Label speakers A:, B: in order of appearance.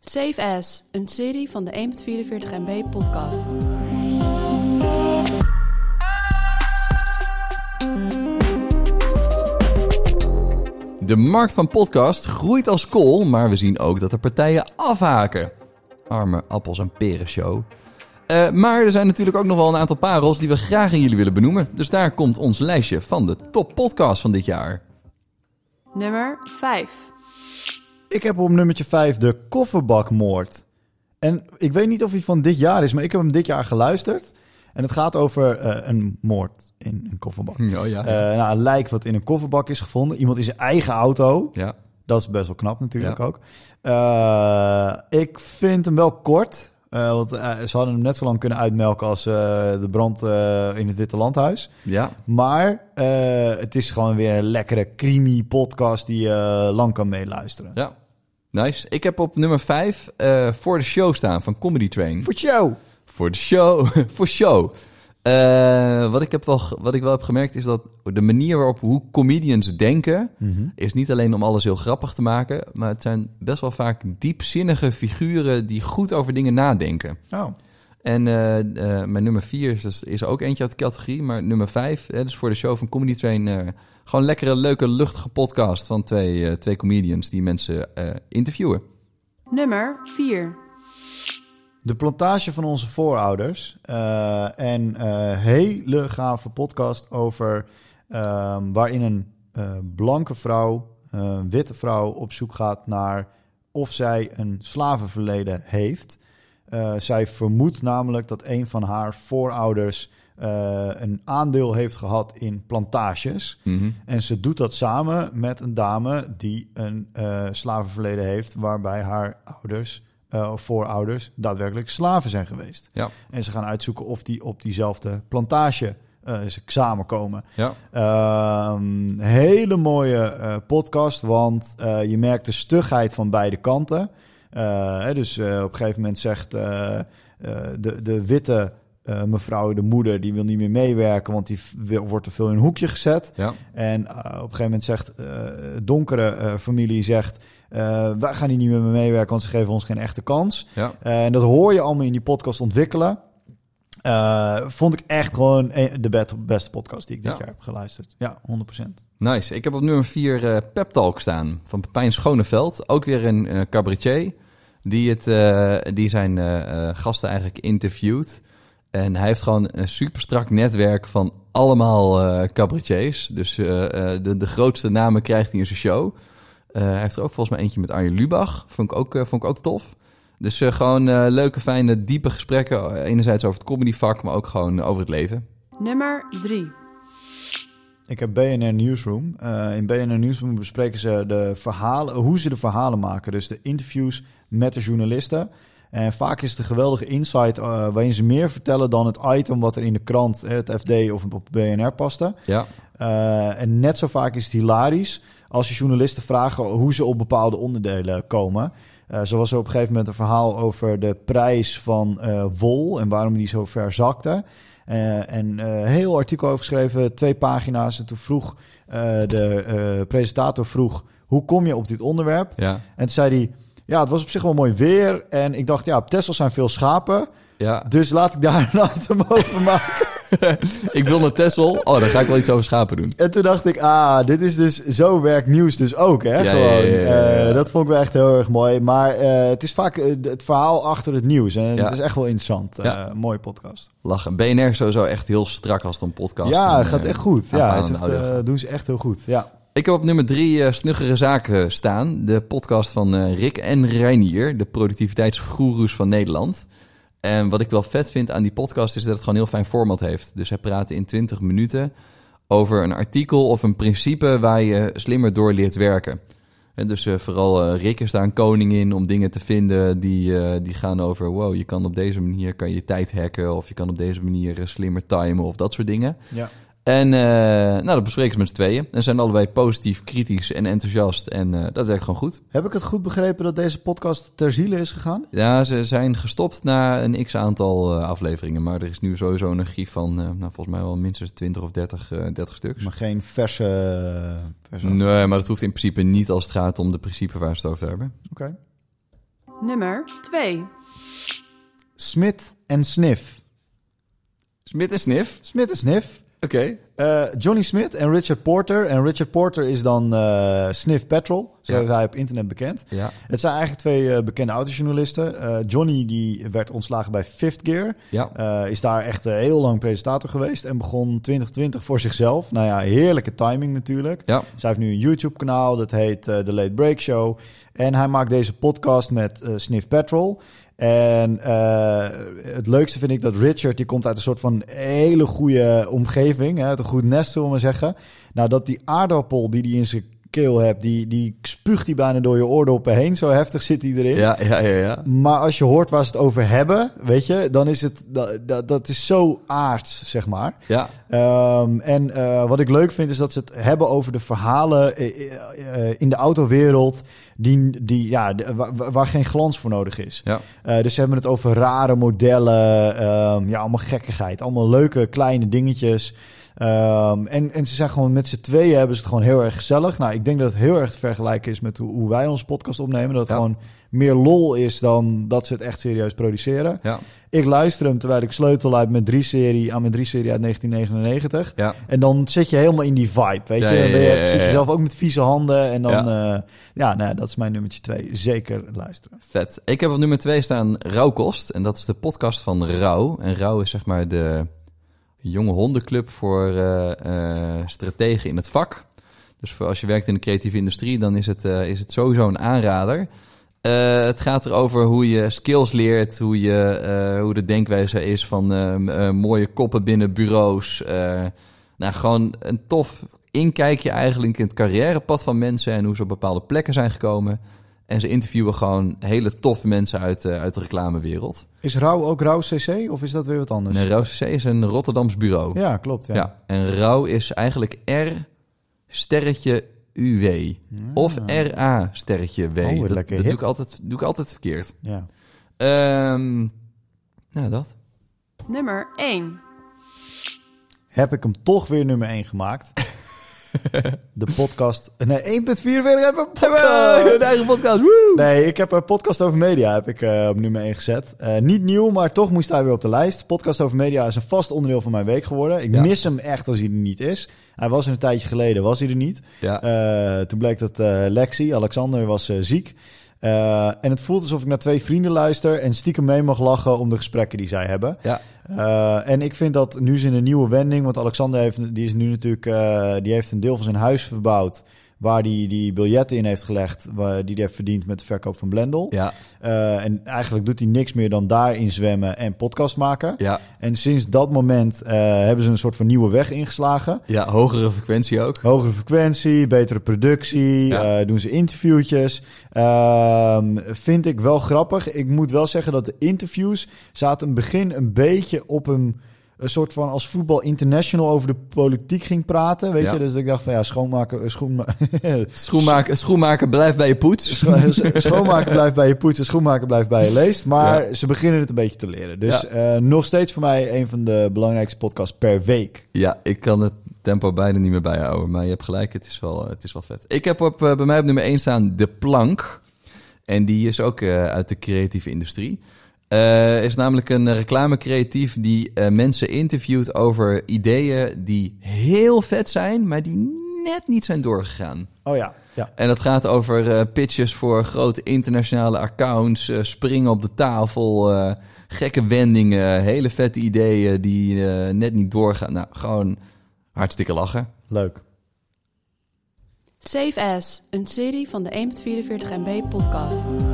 A: Safe As, een serie van de 1.44 MB podcast.
B: De markt van podcast groeit als kool, maar we zien ook dat er partijen afhaken. Arme appels en peren show. Eh, maar er zijn natuurlijk ook nog wel een aantal parels die we graag in jullie willen benoemen. Dus daar komt ons lijstje van de top podcast van dit jaar.
A: Nummer 5.
C: Ik heb op nummertje 5 de kofferbakmoord. En ik weet niet of hij van dit jaar is, maar ik heb hem dit jaar geluisterd. En het gaat over eh, een moord in een kofferbak.
B: Oh ja.
C: Eh, nou, een lijk wat in een kofferbak is gevonden. Iemand in zijn eigen auto.
B: ja.
C: Dat is best wel knap natuurlijk
B: Ja.
C: ook. Eh, ik vind hem wel kort. eh, want eh, ze hadden hem net zo lang kunnen uitmelken als eh, de brand eh, in het Witte Landhuis.
B: Ja.
C: Maar eh, het is gewoon weer een lekkere, creamy podcast die je lang kan meeluisteren.
B: Ja. Nice. Ik heb op nummer 5 eh, voor de show staan van Comedy Train.
C: Voor jou!
B: Voor de show. voor show. Eh, wat, ik heb wel, ge- wat ik wel heb gemerkt is dat de manier waarop hoe comedians denken... is niet alleen om alles heel grappig te maken... maar het zijn best wel vaak diepzinnige figuren die goed over dingen nadenken.
C: Oh.
B: En eh, eh, mijn nummer 4 is, dus- is ook eentje uit de categorie. Maar nummer 5, hè, dus voor de show van Comedy Train. eh, gewoon lekkere, leuke, luchtige podcast van twee, eh, twee comedians die mensen eh, interviewen.
A: Nummer 4.
C: De plantage van onze voorouders. eh, en eh, hele gave podcast over ehm, waarin een eh, blanke vrouw, eh, witte vrouw, op zoek gaat naar of zij een slavenverleden heeft. Eh, zij vermoedt namelijk dat een van haar voorouders eh, een aandeel heeft gehad in plantages.
B: Mhm.
C: En ze doet dat samen met een dame die een eh, slavenverleden heeft, waarbij haar ouders eh, of voorouders daadwerkelijk slaven zijn geweest.
B: Ja,
C: En ze gaan uitzoeken of die op diezelfde plantage eh, ze samenkomen.
B: ja,
C: Ehm, hele mooie eh, podcast, want eh, je merkt de stugheid van beide kanten. Eh, hè, dus eh, op een gegeven moment zegt eh, eh, de, de witte eh, mevrouw, de moeder, die wil niet meer meewerken, want die v- wil- wordt te veel in een hoekje gezet.
B: ja.
C: En eh, op een gegeven moment zegt eh, donkere eh, familie zegt. eh, wij gaan hier niet meer mee meewerken, want ze geven ons geen echte kans.
B: ja.
C: Eh, en dat hoor je allemaal in die podcast ontwikkelen. Eh, vond ik echt gewoon een- de bet- beste podcast die ik dit
B: Ja.
C: jaar heb geluisterd. Ja, 100%.
B: Nice. Ik heb op nummer 4 eh Pep Talk staan van Pepijn Schoneveld. Ook weer een eh, cabaretier die, het, eh, die zijn eh, eh, gasten eigenlijk interviewt. En hij heeft gewoon een super strak netwerk van allemaal eh, cabaretiers. Dus eh, eh, de, de grootste namen krijgt hij in zijn show. Eh, hij heeft er ook volgens mij eentje met Arjen Lubach. Vond ik ook, eh, vond ik ook tof. Dus eh, gewoon eh, leuke, fijne, diepe gesprekken. eh, Enerzijds over het comedyvak, maar ook gewoon over het leven.
A: Nummer 3.
C: Ik heb BNR Newsroom. Eh, in BNR Newsroom bespreken ze de verhalen, hoe ze de verhalen maken. Dus de interviews met de journalisten. En vaak is het een geweldige insight eh, waarin ze meer vertellen dan het item wat er in de krant, eh, het FD of op BNR paste.
B: Ja,
C: Eh, en net zo vaak is het hilarisch als je journalisten vragen hoe ze op bepaalde onderdelen komen. Eh, zo was er op een gegeven moment een verhaal over de prijs van eh, wol en waarom die zo ver zakte. Eh, en eh, heel artikel over geschreven, twee pagina's. En toen vroeg eh, de eh, presentator vroeg, hoe kom je op dit onderwerp?
B: ja,
C: En toen zei hij, ja, het was op zich wel mooi weer. En ik dacht, ja, op Tesla zijn veel schapen,
B: ja.
C: dus laat ik daar een item over maken.
B: Ik wil naar Texel. Oh, daar ga ik wel iets over schapen doen.
C: En toen dacht ik, ah, dit is dus, zo werkt nieuws dus ook, hè?
B: Ja,
C: Gewoon.
B: ja, ja, ja, ja.
C: Eh, dat vond ik wel echt heel erg mooi. Maar eh, het is vaak eh, het verhaal achter het nieuws. En
B: Ja.
C: het is echt wel interessant. Eh,
B: Ja.
C: mooie podcast.
B: Lachen. BNR is sowieso echt heel strak als het om podcast. eh,
C: ja, gaat echt goed. Ja, het is echt,
B: ik,
C: eh, doen ze echt heel goed. Ja.
B: ik heb op nummer drie eh, Snuggere Zaken staan. De podcast van eh, Rick en Reinier, de productiviteitsgoeroes van Nederland. En wat ik wel vet vind aan die podcast is dat het gewoon een heel fijn format heeft. Dus hij praat in 20 minuten over een artikel of een principe waar je slimmer door leert werken. En dus eh, vooral eh, Rick is daar een koning in om dingen te vinden die, eh, die gaan over... wow, je kan op deze manier kan je tijd hacken... of je kan op deze manier eh, slimmer timen of dat soort dingen.
C: Ja.
B: En eh, nou, dat bespreken ze met z'n tweeën. En zijn allebei positief, kritisch en enthousiast. En eh, dat werkt gewoon goed.
C: Heb ik het goed begrepen dat deze podcast ter ziele is gegaan?
B: Ja, ze zijn gestopt na een x-aantal eh, afleveringen. Maar er is nu sowieso een archief van, eh, nou, volgens mij wel minstens 20 of 30, eh 30 stuks.
C: Maar geen verse... verse.
B: Nee, maar dat hoeft in principe niet als het gaat om de principe waar ze het over hebben.
C: Oké.
A: Nummer 2.
C: Smith en Sniff.
B: Smit en Sniff.
C: Smith en Sniff.
B: Oké.
C: Eh, Johnny Smith en Richard Porter. En Richard Porter is dan eh, Sniff Petrol. Zo
B: Ja.
C: is hij op internet bekend.
B: Ja.
C: Het zijn eigenlijk twee eh, bekende autojournalisten. Eh, Johnny die werd ontslagen bij Fifth Gear.
B: Ja.
C: Eh, is daar echt eh, heel lang presentator geweest. En begon 2020 voor zichzelf. Nou ja, heerlijke timing natuurlijk.
B: Ja.
C: Zij heeft nu een YouTube-kanaal, dat heet eh, The Late Break Show. En hij maakt deze podcast met eh, Sniff Patrol. En eh, het leukste vind ik dat Richard, die komt uit een soort van hele goede omgeving. Hè, uit een goed nest, zullen we maar zeggen. Nou, dat die aardappel die hij in zijn keel hebt, die, die spuugt hij bijna door je oordoppen heen. Zo heftig zit hij erin.
B: Ja, ja, ja, ja.
C: Maar als je hoort waar ze het over hebben, weet je, dan is het, dat, dat, dat is zo aards, zeg maar.
B: Ja,
C: Ehm, en eh, wat ik leuk vind is dat ze het hebben over de verhalen eh, eh, eh, in de autowereld die, die, ja, de- waar, waar- waar geen glans voor nodig is.
B: ja.
C: Eh, dus ze hebben het over rare modellen, ehm, ja, allemaal gekkigheid, allemaal leuke kleine dingetjes. Ehm, en, en ze zijn gewoon met z'n tweeën hebben ze het gewoon heel erg gezellig. Nou, ik denk dat het heel erg te vergelijken is met hoe, hoe wij onze podcast opnemen. Dat het
B: Ja.
C: gewoon meer lol is dan dat ze het echt serieus produceren.
B: ja.
C: Ik luister hem terwijl ik sleutel uit mijn 3-serie aan mijn 3-serie uit 1999.
B: ja.
C: En dan zit je helemaal in die vibe, weet je.
B: Ja, ja,
C: Dan ben je,
B: ja, ja,
C: zit je
B: ja.
C: zelf ook met vieze handen. En dan,
B: Ja.
C: ja, ja nou, ja, dat is mijn nummertje 2. Zeker luisteren.
B: Vet. Ik heb op nummer twee staan Rauwkost. En dat is de podcast van Rauw. En Rauw is zeg maar de jonge hondenclub voor eh, eh, strategen in het vak. Dus voor als je werkt in de creatieve industrie, dan is het, eh, is het sowieso een aanrader. Eh, het gaat erover hoe je skills leert, hoe, je, eh, hoe de denkwijze is van ehm, eh, mooie koppen binnen bureaus. Eh, nou, gewoon een tof inkijkje eigenlijk in het carrièrepad van mensen en hoe ze op bepaalde plekken zijn gekomen. En ze interviewen gewoon hele toffe mensen uit, eh, uit de reclamewereld.
C: Is Rauw ook Rauw CC of is dat weer wat anders?
B: En ROCC is een Rotterdams bureau.
C: Ja, klopt. Ja.
B: Ja, en rouw is eigenlijk R sterretje UW. Of RA sterretje W.
C: Oh, wat
B: dat dat
C: lekker
B: doe,
C: hip.
B: ik altijd, doe ik altijd verkeerd.
C: Ja.
B: Ehm nou, dat.
A: Nummer 1.
C: Heb ik hem toch weer nummer 1 gemaakt. De podcast... Nee, 1.4 weer hebben een podcast.
B: Een eigen podcast. Woe!
C: Nee, ik heb een podcast over media heb ik, eh, op nummer 1 gezet. Eh, niet nieuw, maar toch moest hij weer op de lijst. Podcast over media is een vast onderdeel van mijn week geworden. Ik
B: Ja.
C: mis hem echt als hij er niet is. Hij was er een tijdje geleden, was hij er niet.
B: Ja.
C: Eh, toen bleek dat eh, Lexi, Alexander, was eh, ziek. Eh, en het voelt alsof ik naar twee vrienden luister en stiekem mee mag lachen om de gesprekken die zij hebben.
B: Ja.
C: Eh, en ik vind dat nu is in een nieuwe wending, want Alexander heeft, die is nu natuurlijk, eh, die heeft een deel van zijn huis verbouwd. Waar die, die biljetten in heeft gelegd, waar, die hij heeft verdiend met de verkoop van Blendel.
B: ja,
C: Eh, en eigenlijk doet hij niks meer dan daarin zwemmen en podcast maken.
B: ja,
C: En sinds dat moment eh, hebben ze een soort van nieuwe weg ingeslagen.
B: ja, hogere frequentie ook.
C: Hogere frequentie, betere productie,
B: Ja.
C: eh, doen ze interviewtjes. Ehm, vind ik wel grappig. Ik moet wel zeggen dat de interviews zaten in het begin een beetje op een, een soort van als voetbal international over de politiek ging praten. Weet
B: Ja.
C: je, dus ik dacht van ja, schoonmaker, eh, schoenma-
B: Schoenmaker, schoenmaker blijft bij je poets.
C: scho- schoonmaker blijft bij je poetsen, schoenmaker blijft bij je leest. Maar ze beginnen het een beetje te leren. Dus eh, nog steeds voor mij een van de belangrijkste podcasts per week.
B: Ja, ik kan het tempo bijna niet meer bijhouden. Maar je hebt gelijk, het is wel, het is wel vet. Ik heb op, eh, bij mij op nummer 1 staan De Plank. En die is ook eh, uit de creatieve industrie. Eh is namelijk een reclamecreatief die eh, mensen interviewt over ideeën die heel vet zijn, maar die net niet zijn doorgegaan.
C: Oh ja, ja.
B: En dat gaat over eh, pitches voor grote internationale accounts, eh, springen op de tafel, eh, gekke wendingen, hele vette ideeën die eh, net niet doorgaan. Nou, gewoon hartstikke lachen.
C: Leuk.
A: Save As, een serie van de 1.44 MB podcast.